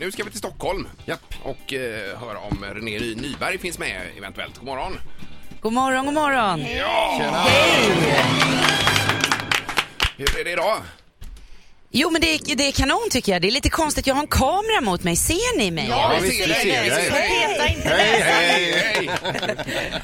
nu ska vi till Stockholm Japp. och eh, höra om René Ny- Nyberg finns med eventuellt. God morgon! God morgon, god morgon. Hur är det idag? Jo, men det är, det är kanon tycker jag. Det är lite konstigt. Jag har en kamera mot mig. Ser ni mig? Ja, visst, vi ser dig. Peta inte Hej, näsan. hej! Hej!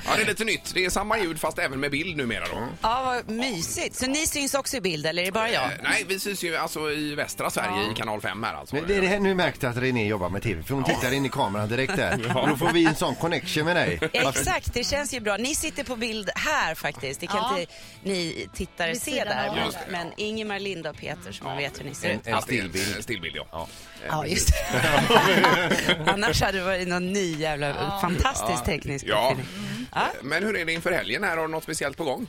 Ja, det är lite nytt. Det är samma ljud fast även med bild numera då. Ja, vad mysigt. Så ni syns också i bild, eller är det bara jag? Eh, Nej, vi syns ju alltså i västra Sverige i kanal 5 här alltså. Men Det är det här nu märkte jag att René jobbar med TV, för hon tittar in i kameran direkt där. Ja. Och Då får vi en sån connection med dig. Alltså, Exakt, det känns ju bra. Ni sitter på bild här faktiskt. Det kan Ja. inte ni tittare Vid se sidan där. av. Men, Just det, ja. men Ingemar, Linda och Peter, så man vet hur ni ser ut. En Att det är en stillbild. Stillbild, ja. Ja, just det. Annars hade det varit någon ny jävla fantastisk teknisk Ja. uppfinning. Ja. Men hur är det inför helgen här? Har du något speciellt på gång?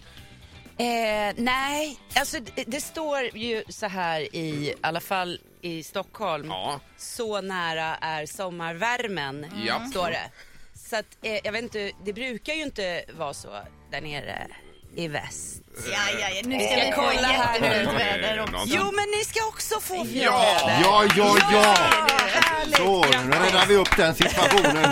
Eh, nej, alltså det, det står ju så här i alla fall i Stockholm. Ja. Så nära är sommarvärmen, Ja. står det. Så att, eh, jag vet inte, det brukar ju inte vara så där nere i väst. Ja, ja, ja. Nu ska ska vi få kolla här jättefint nu. väder också. Någonting. Jo, men ni ska också få fint Ja. väder. Ja, ja, ja! Härligt. Så, nu räddar vi upp den situationen.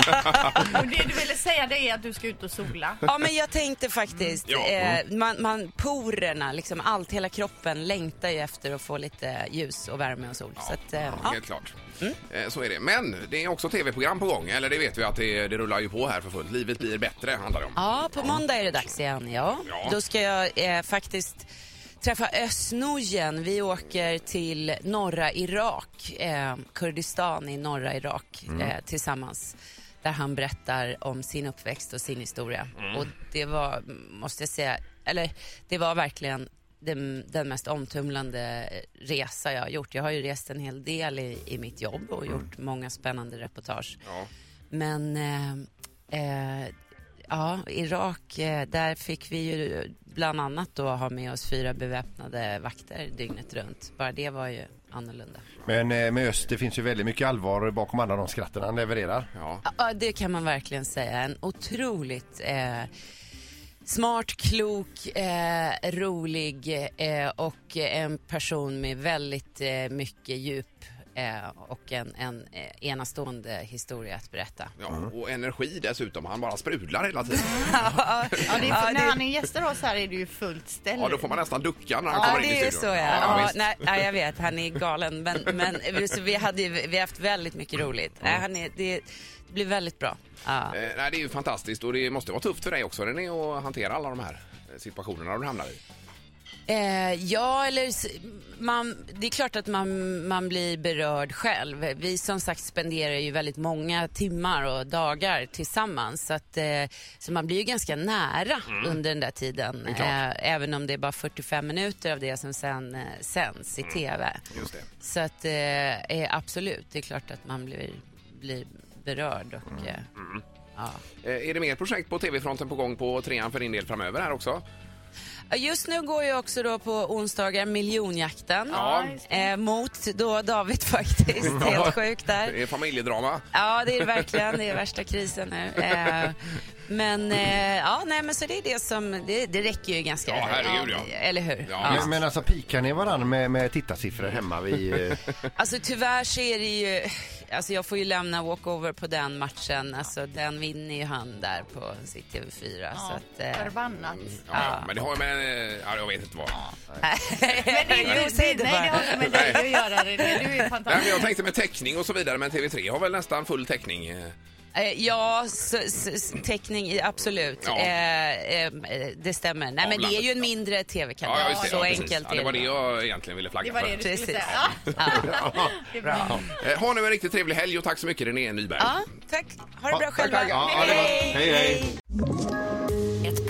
Och det du ville säga det är att du ska ut och sola. Ja men jag tänkte faktiskt, Ja. eh, man, man, porerna, liksom allt, hela kroppen längtar ju efter att få lite ljus och värme och sol. Så att, eh, ja. Helt klart. Eh, Så är det. Men det är också tv-program på gång. Eller det vet vi att det, det rullar ju på här för fullt. Livet blir bättre handlar det om. Ja, på måndag är det dags igen. Ja. Ja. Då ska jag eh, faktiskt träffa Östnojen. Vi åker till norra Irak, eh, Kurdistan i norra Irak eh, tillsammans. Där han berättar om sin uppväxt och sin historia. Och det var, måste jag säga, eller det var verkligen den, den mest omtumlande resa jag har gjort. Jag har ju rest en hel del i, i mitt jobb och gjort många spännande reportage. Ja. Men eh, eh, ja, Irak, eh, där fick vi ju bland annat då ha med oss fyra beväpnade vakter dygnet runt. Bara det var ju annorlunda. Men eh, med Öst, det finns ju väldigt mycket allvar bakom alla de skratten han levererar. Ja. Ja, Ja, det kan man verkligen säga. En otroligt eh, smart, klok, eh, rolig eh, och en person med väldigt eh, mycket djup eh, och en, en eh, enastående historia att berätta. Ja, och energi dessutom. Han bara sprudlar hela tiden. Ja, det är, Ja, när det- han är gäster hos här är det ju fullt ställe. Ja, då får man nästan ducka när han Ja, kommer in i det är studion. så ja. Ja, ja, visst. nej, nej, jag vet, han är galen. Men, men vi- så vi, hade, ju- vi har haft väldigt mycket roligt. Nej, han är, det, det blir väldigt bra. Ja. Eh, Nej, det är ju fantastiskt och det måste vara tufft för dig också René att hantera alla de här eh, situationerna du hamnar i. Eh, ja, eller s- man, det är klart att man, man blir berörd själv. Vi som sagt spenderar ju väldigt många timmar och dagar tillsammans. Så, att, eh, så man blir ju ganska nära under den där tiden. Mm. är klart. Eh, även om det är bara 45 minuter av det som sen eh, sänds i Mm. TV. Just det. Så att eh, eh, absolut, det är klart att man blir, blir berörd och Mm. eh, ja. Eh, Är det mer projekt på tv-fronten på gång på trean för din del framöver här också? Ja, Just nu går jag också då på onsdagar miljonjakten. Ja. Eh, mot då David faktiskt, helt sjukt där. Det är familjedrama. Ja, det är det verkligen. Det är värsta krisen nu. Eh, men eh, ja, nej men så det är det som, det, det räcker ju ganska. Ja, herregud, ja. Eller hur? Ja, Men, men alltså pikar ni varandra med, med tittarsiffror hemma vid... eh, Alltså tyvärr så är det ju, alltså jag får ju lämna walkover på den matchen. Alltså den vinner ju han där på sitt TV4. så att, eh, Förbannat. Ja, ja. Men det har ju med... eh, Ja, jag vet inte vad. men Det är ju- säg det nej, det har bara. inte med dig att göra René. Du är Nej, men jag fantastisk. tänkte med täckning och så vidare, men TV3 har väl nästan full täckning? eh. Eh, Ja, s- s- s- täckning, i- absolut. Ja. Eh, eh, det stämmer. Nej, men det är ju en mindre Ja, TV-kanal. ja, just det. så ja, precis. enkelt ja, Det var det nog. jag egentligen ville Det flagga var det du för. skulle Precis. säga. Ja. Det är bra. Eh, Ha nu en riktigt trevlig helg och tack så mycket René Nyberg. Ja, tack. Ha det bra tack, själva. tack. Ja, ha det bra. Hej, hej. Ett